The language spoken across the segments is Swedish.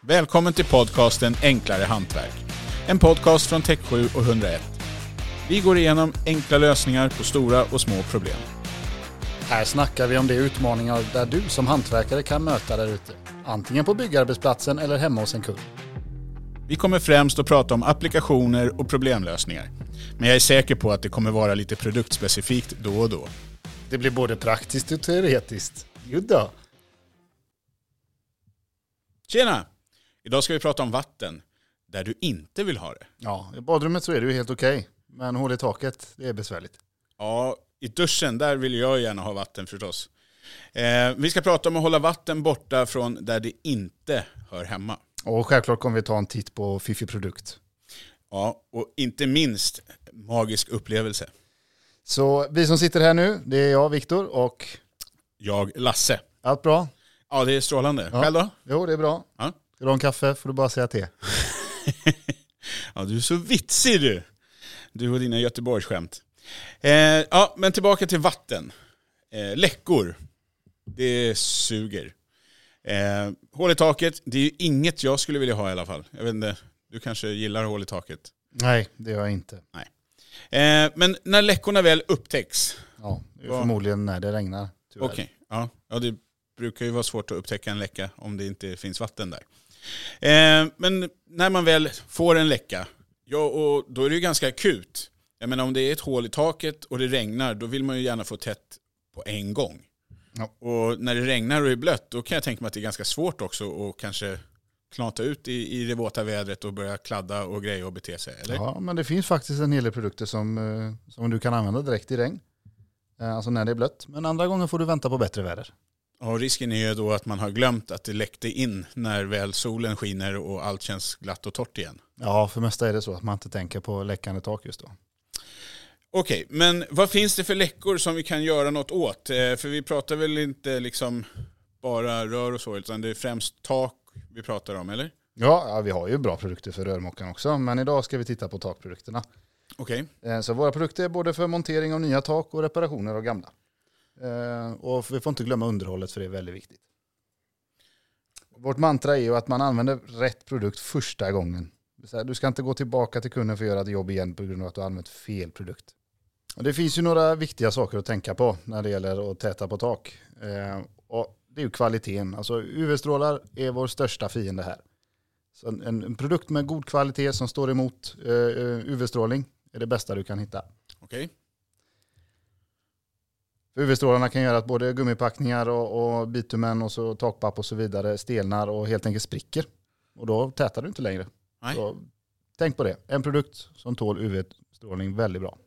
Välkommen till podcasten Enklare Hantverk. En podcast från Tech7 och 101. Vi går igenom enkla lösningar på stora och små problem. Här snackar vi om de utmaningar där du som hantverkare kan möta där ute. Antingen på byggarbetsplatsen eller hemma hos en kund. Vi kommer främst att prata om applikationer och problemlösningar. Men jag är säker på att det kommer vara lite produktspecifikt då och då. Det blir både praktiskt och teoretiskt. Jodå. Tjena! Idag ska vi prata om vatten, där du inte vill ha det. Ja, i badrummet så är det ju helt okej. Men hål i taket, det är besvärligt. Ja, i duschen, där vill jag gärna ha vatten förstås. Eh, vi ska prata om att hålla vatten borta från där det inte hör hemma. Och självklart kommer vi ta en titt på fiffig produkt. Ja, och inte minst magisk upplevelse. Så vi som sitter här nu, det är jag, Viktor och Jag, Lasse. allt bra? Ja, det är strålande. Ja. Själv då? Jo, det är bra. Ja. Vill du ha en kaffe får du bara säga till. Ja, du är så vitsig du. Du och dina Göteborgsskämt. Eh, ja, men tillbaka till vatten. Eh, läckor. Det suger. Eh, hål i taket, det är ju inget jag skulle vilja ha i alla fall. Jag vet inte, du kanske gillar hål i taket. Nej, det gör jag inte. Eh, men när läckorna väl upptäcks, Ja, det är Vad- förmodligen när det regnar. tyvärr. Okej, ja. ja. Det brukar ju vara svårt att upptäcka en läcka om det inte finns vatten där. Eh, men när man väl får en läcka, ja, och då är det ju ganska akut. Jag menar om det är ett hål i taket och det regnar, då vill man ju gärna få tätt på en gång. Ja. Och när det regnar och är blött, då kan jag tänka mig att det är ganska svårt också att kanske knata ut i, i det våta vädret och börja kladda och greja och bete sig. Eller? Ja, men det finns faktiskt en hel del produkter som, eh, som du kan använda direkt i regn. Eh, Alltså när det är blött. Men andra gånger får du vänta på bättre väder. Och risken är ju då att man har glömt att det läckte in när väl solen skiner och allt känns glatt och torrt igen. Ja, för mesta är det så att man inte tänker på läckande tak just då. Okej, men vad finns det för läckor som vi kan göra något åt? Eh, För vi pratar väl inte liksom bara rör och så, utan det är främst tak vi pratar om, eller? Ja, ja, vi har ju bra produkter för rörmokaren också, men idag ska vi titta på takprodukterna. Okej, Eh, Så våra produkter är både för montering av nya tak och reparationer av gamla. Eh, Och vi får inte glömma underhållet för det är väldigt viktigt. Vårt mantra är ju att man använder rätt produkt första gången. Så här, Du ska inte gå tillbaka till kunden för att göra ett jobb igen på grund av att du har använt fel produkt. Och det finns ju några viktiga saker att tänka på när det gäller att täta på tak. Eh, Och det är ju kvaliteten. Alltså UV-strålar är vår största fiende här. Så en, en produkt med god kvalitet som står emot eh, UV-strålning är det bästa du kan hitta. okej. För UV-strålarna kan göra att både gummipackningar och, och bitumen och så takpapp och så vidare stelnar och helt enkelt spricker. Och då tätar du inte längre. Nej. Så, tänk på det. En produkt som tål UV-strålning väldigt bra.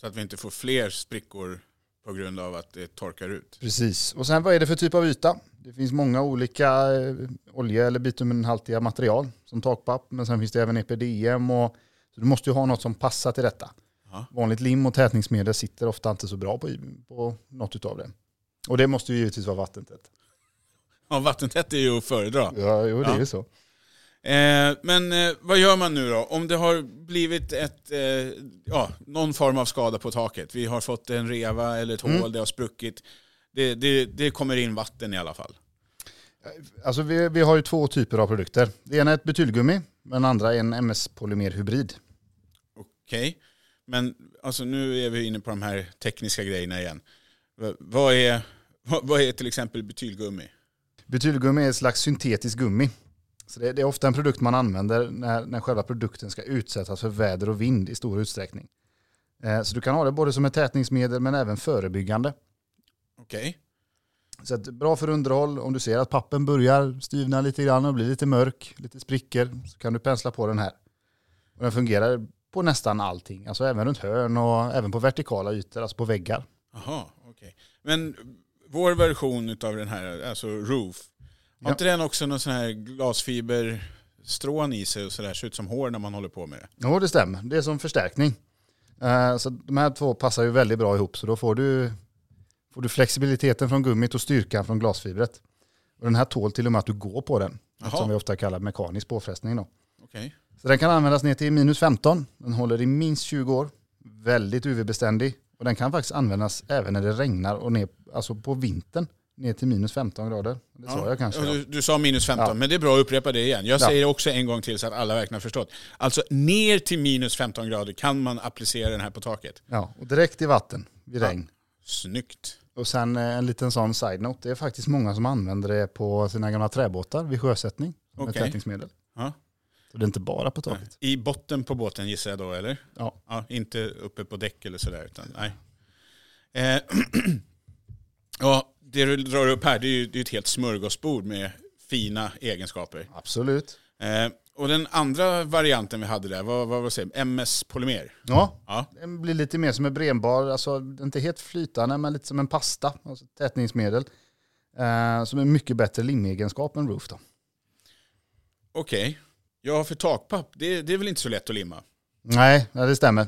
Så att vi inte får fler sprickor på grund av att det torkar ut. Precis. Och sen vad är det för typ av yta? Det finns många olika eh, olje eller bitumenhaltiga material som takpapp. Men sen finns det även E EPDM och så du måste ju ha något som passar till detta. Ja. Vanligt lim och tätningsmedel sitter ofta inte så bra på, på något utav det. Och det måste ju givetvis vara vattentätt. Ja, vattentätt är ju att föredra. Ja, jo, det är ju så. Eh, men eh, vad gör man nu då? Om det har blivit ett, eh, ja, någon form av skada på taket. Vi har fått en reva eller ett hål, Mm. det har spruckit. Det, det, det kommer in vatten i alla fall. Alltså vi, vi har ju två typer av produkter. Det ena är ett butylgummi, men den andra är en MS-polymerhybrid. Okej, men alltså, nu är vi inne på de här tekniska grejerna igen. V- Vad är, vad, vad är till exempel butylgummi? Butylgummi är ett slags syntetisk gummi. Så det, det är ofta en produkt man använder när, när själva produkten ska utsättas för väder och vind i stor utsträckning. Eh, så du kan ha det både som ett tätningsmedel men även förebyggande. Okej, Så att, bra för underhåll, om du ser att pappen börjar styvna lite grann och bli lite mörk, lite sprickor, så kan du pensla på den här. Och den fungerar på nästan allting, alltså även runt hörn och även på vertikala ytor, alltså på väggar. jaha, okej. Men vår version av den här, alltså roof, har Ja. inte den också någon sån här glasfiberstrån i sig och sådär, ser ut som hår när man håller på med det? Jo, det stämmer. Det är som förstärkning. Eh, Så de här två passar ju väldigt bra ihop. Så då får du, får du flexibiliteten från gummit och styrkan från glasfibret. Och den här tål till och med att du går på den. Som vi Jaha, ofta kallar mekanisk påfrestning. Då. okej. Så den kan användas ner till minus 15. Den håller i minst 20 år. Väldigt UV-beständig. Och den kan faktiskt användas även när det regnar och ner, alltså på vintern. ner till minus 15 grader. Det sa jag kanske. Ja, Ja. Du, du sa minus 15, Ja. men det är bra att upprepa det igen. Jag Ja. säger det också en gång till så att alla verkligen har förstått. Alltså ner till minus 15 grader kan man applicera den här på taket. Ja, och direkt i vatten vid Ja. regn. Snyggt. Och sen eh, en liten sån side-note. Det är faktiskt många som använder det på sina gamla träbåtar vid sjösättning. Med Okej. tätningsmedel. Ja. Så det är inte bara på taket. I botten på båten gissar jag då, eller? Ja. inte uppe på däck eller sådär, utan nej. Eh, ja, det du drar upp här, det är ju det är ett helt smörgåsbord med fina egenskaper. Absolut. Eh, och den andra varianten vi hade där, vad, vad var det? MS-polymer. Ja, Ja. den blir lite mer som en brenbar. Alltså den är inte helt flytande men lite som en pasta. Alltså tätningsmedel. Eh, som är mycket bättre limegenskap än roof då. Okej. Ja, för takpapp, det, det är väl inte så lätt att limma? Nej, ja, det stämmer.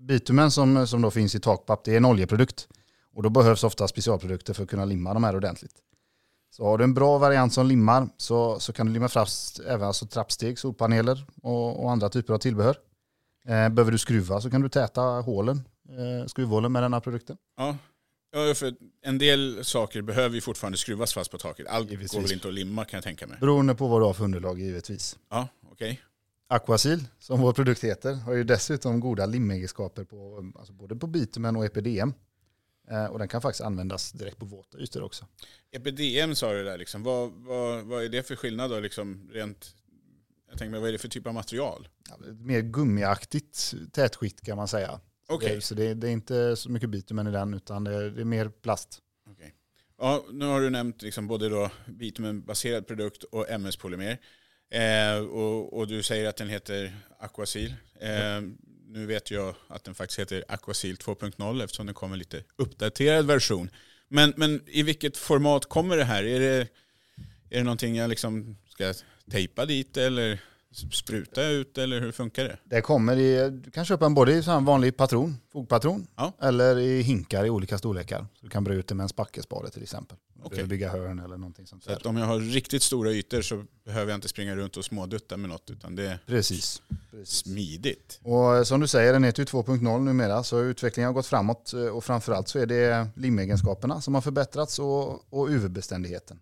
Bitumen som, som då finns i takpapp, det är en oljeprodukt. Och då behövs ofta specialprodukter för att kunna limma de här ordentligt. Så har du en bra variant som limmar så, så kan du limma fast även alltså trappsteg, solpaneler och, och andra typer av tillbehör. Eh, behöver du skruva så kan du täta hålen, eh, skruvhålen med den här produkten. Ja. ja, för en del saker behöver ju fortfarande skruvas fast på taket. Allt Givetvis. går väl inte att limma kan jag tänka mig. Beroende på vad du har för underlag givetvis. Ja, okej. Aquasil, som vår produkt heter, har ju dessutom goda limegenskaper på, alltså både på bitumen och EPDM. Eh, och den kan faktiskt användas direkt på våta ytor också. E EPDM sa du där, liksom. vad, vad, vad är det för skillnad då? Liksom, rent, jag tänker mig, vad är det för typ av material? Ja, Mer gummiaktigt tätskikt kan man säga. Okej, Det, så det, det är inte så mycket bitumen i den utan det är, det är mer plast. ja, nu har du nämnt liksom, både då bitumenbaserad produkt och MS-polymer. Eh, och, och du säger att den heter Aquasil. Eh, nu vet jag att den faktiskt heter Aquasil 2.0 eftersom den kom en lite uppdaterad version. Men, men i vilket format kommer det här? Är det, är det någonting jag liksom ska tejpa dit eller spruta ut eller hur funkar det? Det kommer i, du kan köpa en både i sån här vanlig patron, fogpatron, Ja. eller i hinkar i olika storlekar. Så du kan bre ut det med en spackelspade till exempel. Om Du Okej. behöver bygga hörn eller någonting sånt Så där. att om jag har riktigt stora ytor så behöver jag inte springa runt och smådutta med något utan det är Precis. Precis. smidigt. Och eh, som du säger, den heter ju 2.0 numera, så utvecklingen har gått framåt eh, och framförallt så är det limegenskaperna som har förbättrats och, och UV-beständigheten.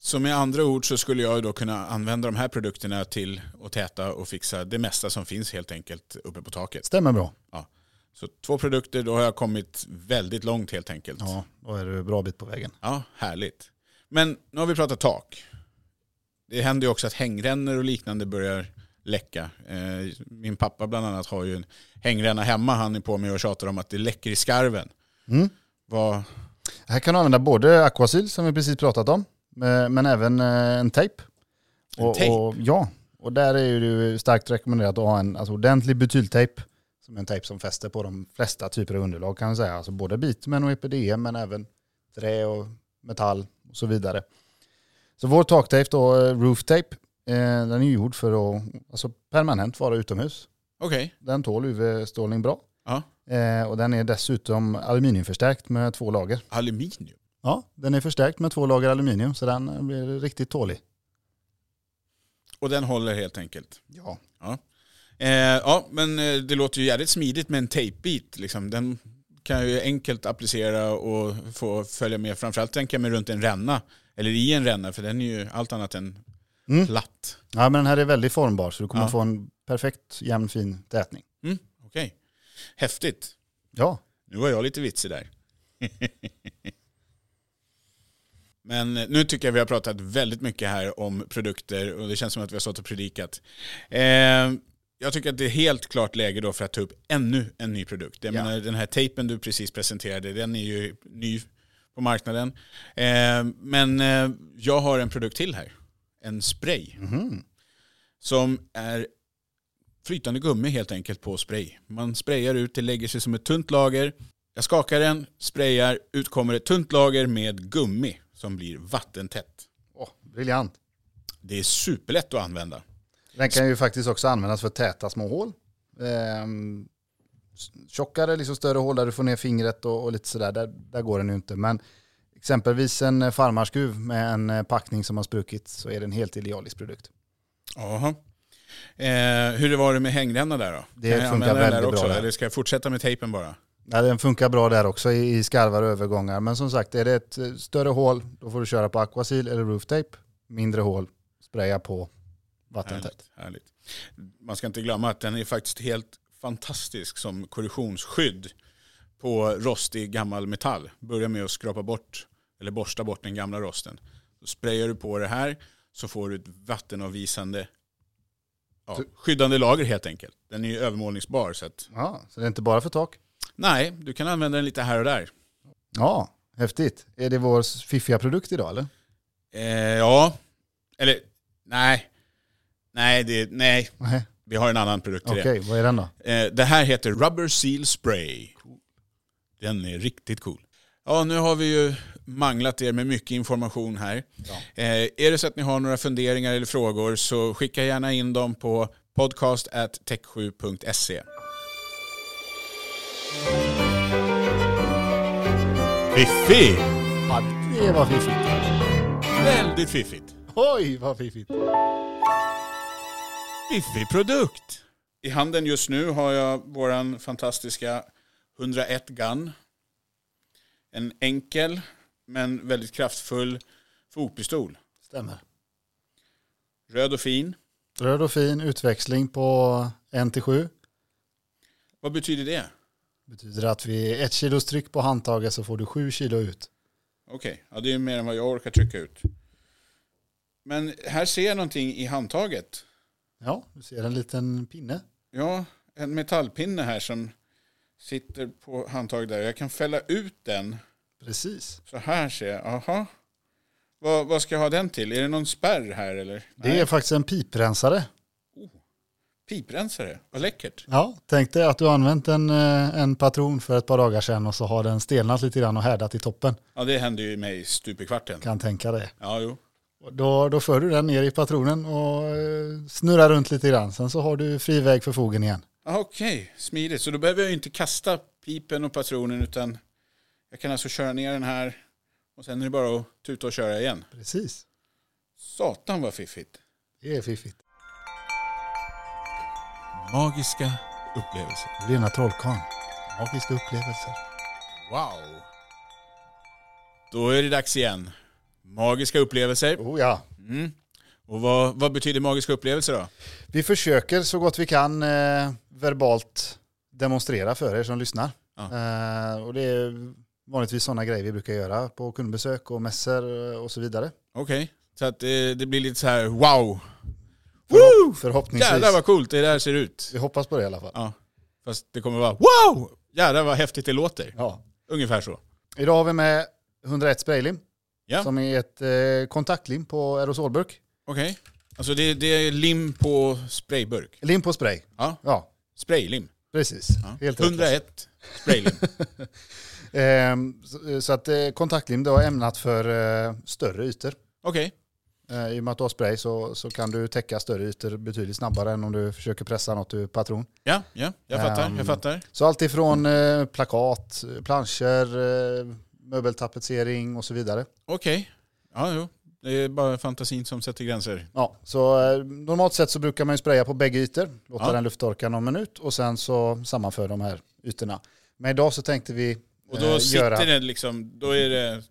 Så med andra ord så skulle jag då kunna använda de här produkterna till att täta och fixa det mesta som finns helt enkelt uppe på taket. Stämmer bra. Så två produkter, då har jag kommit väldigt långt helt enkelt. Ja, då är du en bra bit på vägen. Ja, härligt. Men nu har vi pratat tak. Det händer ju också att hängrännor och liknande börjar läcka. Eh, Min pappa bland annat har ju en hängränna hemma. Han är på mig och tjatar om att det läcker i skarven. Mm. Vad, Här kan du använda både Aquasil som vi precis pratat om, eh, men även eh, en tejp. En Och- tejp? och- Ja, och där är ju det starkt rekommenderat att ha en alltså, ordentlig butyltejp, som är en tejp som fäster på de flesta typer av underlag kan man säga. Alltså både bitumen och EPDM, men även trä och metall och så vidare. Så vår taktejp då, eh, rooftape, eh, den är ju gjord för att alltså, permanent vara utomhus. okej. Den tål UV-strålning bra. Ja. Eh, och den är dessutom aluminiumförstärkt med två lager. Aluminium? Ja, den är förstärkt med två lager aluminium så den blir riktigt tålig. Och den håller helt enkelt. Ja. Eh, ja, men eh, det låter ju jävligt smidigt med en tejpbit. Liksom. Den kan jag ju enkelt applicera och få följa med. Framförallt tänker jag mig runt en ränna. Eller i en ränna, för den är ju allt annat än Mm. platt. ja, men den här är väldigt formbar så du kommer Ja. få en perfekt jämn fin tätning. Mm, Okej, häftigt. Ja, Nu var jag lite vitsig där. Men nu tycker jag vi har pratat väldigt mycket här om produkter och det känns som att vi har stått och predikat. Eh, jag tycker att det är helt klart läge då för att ta upp ännu en ny produkt. Jag Ja. menar, den här tejpen du precis presenterade, den är ju ny på marknaden. Eh, men eh, jag har en produkt till här. En spray Mhm. som är flytande gummi helt enkelt på spray. Man sprayar ut, det lägger sig som ett tunt lager. Jag skakar den, sprayar, ut kommer ett tunt lager med gummi som blir vattentätt. Åh, briljant. Det är superlätt att använda. Den kan ju faktiskt också användas för täta små hål. Ehm, s- tjockare, liksom större hål där du får ner fingret och, och lite sådär, där, där går den ju inte. Men exempelvis en eh, farmarskruv med en eh, packning som har spruckit så är det en helt idealisk produkt. Jaha. Eh, hur var det med hängränna där då? Det Kan jag funkar använda den väldigt där också, bra där. Eller ska jag fortsätta med tejpen bara? Ja, den funkar bra där också i, i skarvare övergångar. Men som sagt, är det ett eh, större hål då får du köra på aquasil eller rooftape. Mindre hål, spraya på vattentätt. Härligt, härligt. Man ska inte glömma att den är faktiskt helt fantastisk som korrosionsskydd på rostig gammal metall. Börja med att skrapa bort eller borsta bort den gamla rosten. Så sprayar du på det här så får du ett vattenavvisande ja, skyddande lager helt enkelt. Den är ju övermålningsbar så att Ja, så det är inte bara för tak. nej, du kan använda den lite här och där. Ja, häftigt. Är det vår fiffiga produkt idag eller? Eh, ja, eller nej, nej, det, nej, Nej, vi har en annan produkt till Okej, det. vad är den då? Eh, det här heter Rubber Seal Spray. Den är riktigt cool. Ja, nu har vi ju manglat er med mycket information här. Eh, är det så att ni har några funderingar eller frågor så skicka gärna in dem på podcast.tech7.se. Fiffi! Ja, det var fiffigt. Väldigt fiffigt. Oj, vad fiffigt. Fiffig produkt! I handen just nu har jag våran fantastiska 101 Gun. En enkel men väldigt kraftfull fotpistol. Stämmer. Röd och fin. Röd och fin utväxling på 1-7. Vad betyder det? Betyder att vid ett kilos tryck på handtaget så får du 7 kilo ut. Okej, ja, det är mer än vad jag orkar trycka ut. Men här ser jag någonting i handtaget. Ja, du ser en liten pinne. Ja, en metallpinne här som sitter på handtaget där. Jag kan fälla ut den Precis. Så här ser jag, aha. Vad, vad ska jag ha den till? Är det någon spärr här eller? Det Nej. är faktiskt en piprensare. Piprensare, vad läckert. Ja, tänk dig att du har använt en, eh, en patron för ett par dagar sedan och så har den stelnat lite grann och härdat i toppen. Ja det hände ju mig stup i kvarten. Kan tänka dig. Ja, jo. Och Då, då för du den ner i patronen och eh, snurrar runt lite grann. Sen så har du fri väg för fogen igen. Ah, Okej, smidigt. Så då behöver jag ju inte kasta pipen och patronen utan jag kan alltså köra ner den här och sen är det bara att tuta och köra igen. Precis. Satan vad fiffigt. Det är fiffigt. Magiska upplevelser. Rena trollkarlen. Magiska upplevelser. Wow. Då är det dags igen. Magiska upplevelser. Oh ja. Mm. Och vad, vad betyder magiska upplevelser då? Vi försöker så gott vi kan eh, verbalt demonstrera för er som lyssnar. Ja. Eh, och det är vanligtvis sådana grejer vi brukar göra på kundbesök och mässor eh, och så vidare. Okej, så att det, det blir lite så här wow. Förhopp- förhoppningsvis. Jävlar vad coolt det där ser ut. Vi hoppas på det i alla fall. Ja. Fast det kommer vara wow! Jävlar vad häftigt det låter. Ja. Ungefär så. Idag har vi med 101 spraylim. Ja. Som är ett eh, kontaktlim på aerosolburk. Okej. Alltså det, det är lim på sprayburk. Lim på spray. Ja, Ja, spraylim. precis. Ja. Helt rätt. 101 spraylim. Ehm, så, så att eh, kontaktlim då är ämnat för eh, större ytor. Okej, Eh, I och med att du har spray så, så kan du täcka större ytor betydligt snabbare än om du försöker pressa något ur patron. ja, ja, jag fattar, jag Ehm, fattar. Så allt ifrån eh, plakat, planscher, eh, möbeltapetsering och så vidare. Okej. Ja, jo. Det är bara fantasin som sätter gränser. Ja, så eh, normalt sett så brukar man ju spraya på bägge ytor, låta Ja. den lufttorka någon minut och sen så sammanför de här ytorna. Men idag så tänkte vi Och då eh, sitter göra, det liksom, då är det,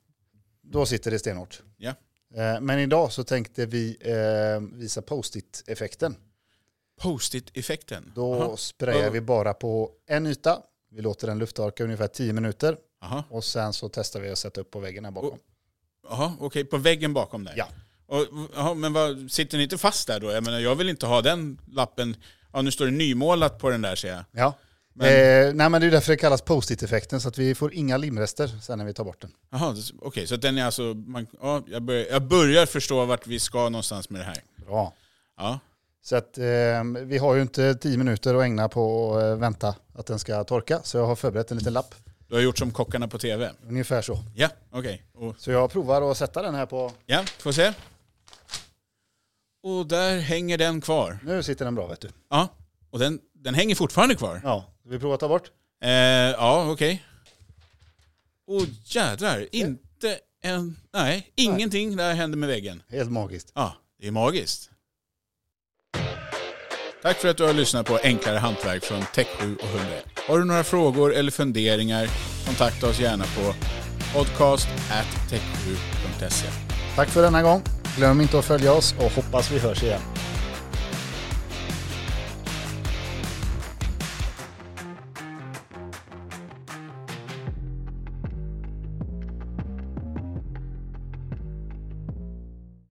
då sitter det stenhårt. Ja. Eh, men idag så tänkte vi eh, visa post-it-effekten. post-it-effekten. Då Aha. sprayar Ja. vi bara på en yta. Vi låter den lufttorka ungefär 10 minuter Aha. och sen så testar vi att sätta upp på väggen här Oh, bakom. Jaha, okej, på väggen bakom där? Ja. Och, jaha, men vad, sitter ni inte fast där då? Jag menar, jag vill inte ha den lappen. Ja, nu står det nymålat på den där ser jag. Ja. Men- Eh, nej men det är därför det kallas post-it-effekten så att vi får inga limrester sen när vi tar bort den. Jaha, det- okej, så den är alltså... Man, ja, jag, börjar, jag börjar förstå vart vi ska någonstans med det här. Bra. Ja, Så att eh, vi har ju inte 10 minuter att ägna på att eh, vänta att den ska torka så jag har förberett en liten lapp. du har gjort som kockarna på tv. Ungefär så. Ja, okej. Och, Så jag provar att sätta den här på, ja, får se. Och där hänger den kvar. nu sitter den bra vet du. Ja, och den, den hänger fortfarande kvar. Ja, ska vi provar att ta bort? Eh, ja, okej. Åh jädrar, inte en... Nej, ingenting där hände med väggen. Helt magiskt. Ja, det är magiskt. Tack för att du har lyssnat på Enklare Hantverk från Tech7 och 101. Har du några frågor eller funderingar, kontakta oss gärna på podcast at tech7.se. Tack för denna gång. Glöm inte att följa oss och hoppas vi hörs igen.